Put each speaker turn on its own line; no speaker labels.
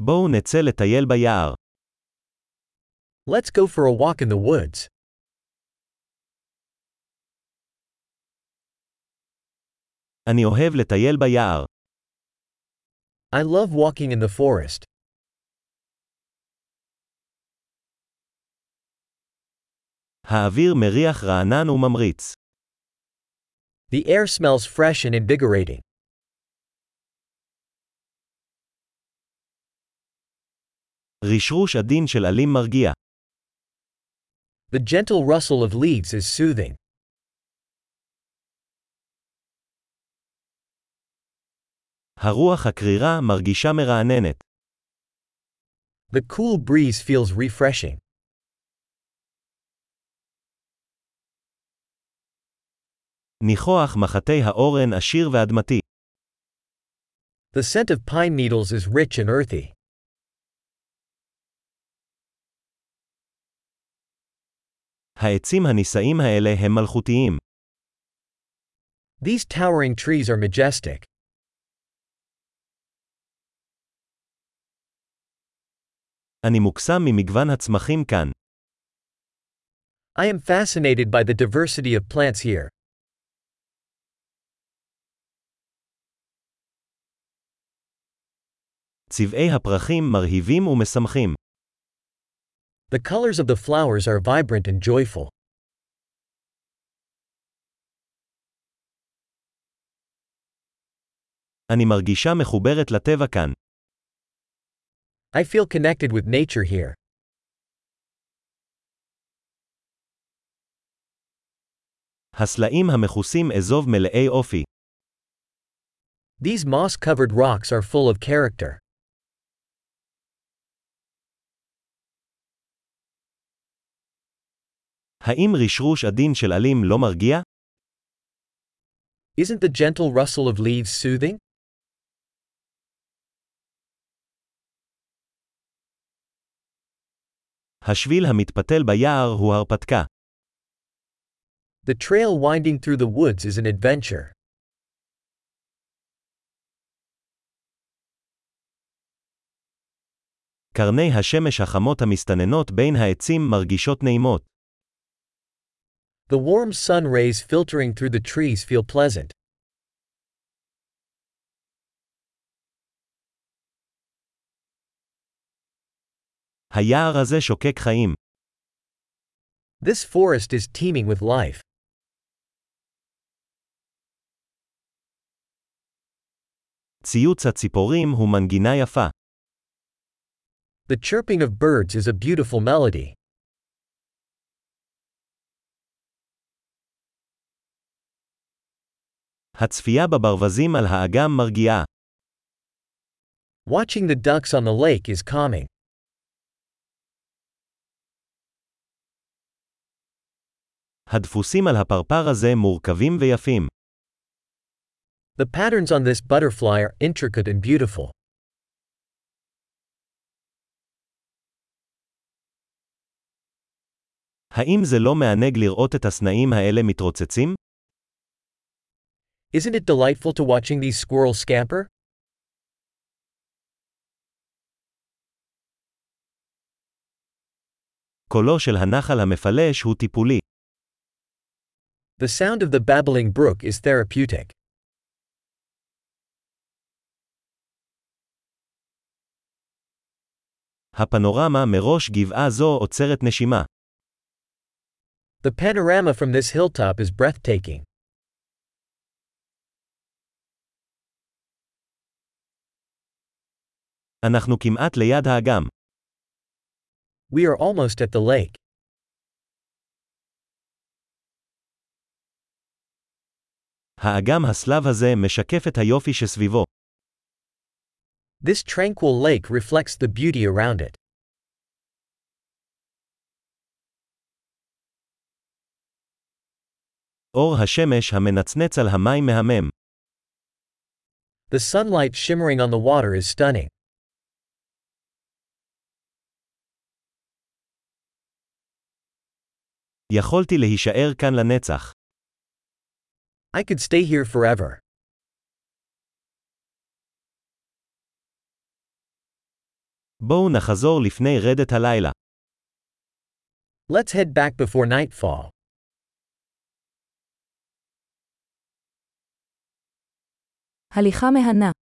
בואו נצא לטייל ביער.
Let's go for a walk in the woods.
אני אוהב לטייל ביער.
I love walking in the forest.
האוויר מריח רענן וממריץ.
The air smells fresh and invigorating.
רשרוש עדין של עלים מרגיע.
The gentle rustle of leaves is soothing.
הרוח הקרירה מרגישה מרעננת.
The cool breeze feels refreshing.
ניחוח מחטי האורן עשיר ואדמתי.
The scent of pine needles is rich and earthy.
העצים הנישאים האלה הם מלכותיים.
These towering trees are majestic.
אני מוקסם ממגוון הצמחים כאן.
I am fascinated by the diversity of plants here.
צבעי הפרחים מרהיבים ומשמחים.
The colors of the flowers are vibrant and joyful.
אני מרגישה מחוברת לטבע כאן.
I feel connected with nature here.
הסלעים המכוסים אזוב מלאי אופי.
These moss covered rocks are full of character.
האם רשרוש עדין של עלים לא מרגיע?
Isn't the gentle rustle of leaves soothing?
השביל המתפתל ביער הוא הרפתקה.
The trail winding through the woods is an adventure.
קרני השמש החמות המסתננות בין העצים מרגישות נעימות.
The warm sun rays filtering through the trees feel pleasant.
היער הזה שוקק חיים.
This forest is teeming with life.
ציוץ הציפורים הוא מנגינה יפה.
The chirping of birds is a beautiful melody.
הצפייה בברווזים על האגם מרגיעה.
Watching the ducks on the lake is calming.
הדפוסים על הפרפר הזה מורכבים ויפים.
The patterns on this butterfly are intricate and beautiful.
האם זה לא מענג לראות את הסנאים האלה מתרוצצים?
Isn't it delightful to watching these squirrels scamper?
קולו של הנחל המפלש הוא טיפולי.
The sound of the babbling brook is therapeutic.
הפנורמה מראש גבעה זו עוצרת נשימה.
The panorama from this hilltop is breathtaking.
אנחנו כמעט ליד האגם.
We are almost at the lake.
האגם הסלב הזה משקף את היופי שסביבו.
This tranquil lake reflects the beauty around it.
אור השמש המנצנץ על המים מהמם.
The sunlight shimmering on the water is stunning.
יכולתי להישאר כאן לנצח.
I could stay here forever.
בואו נחזור לפני רדת הלילה.
Let's head back before nightfall.
הליכה מהנה.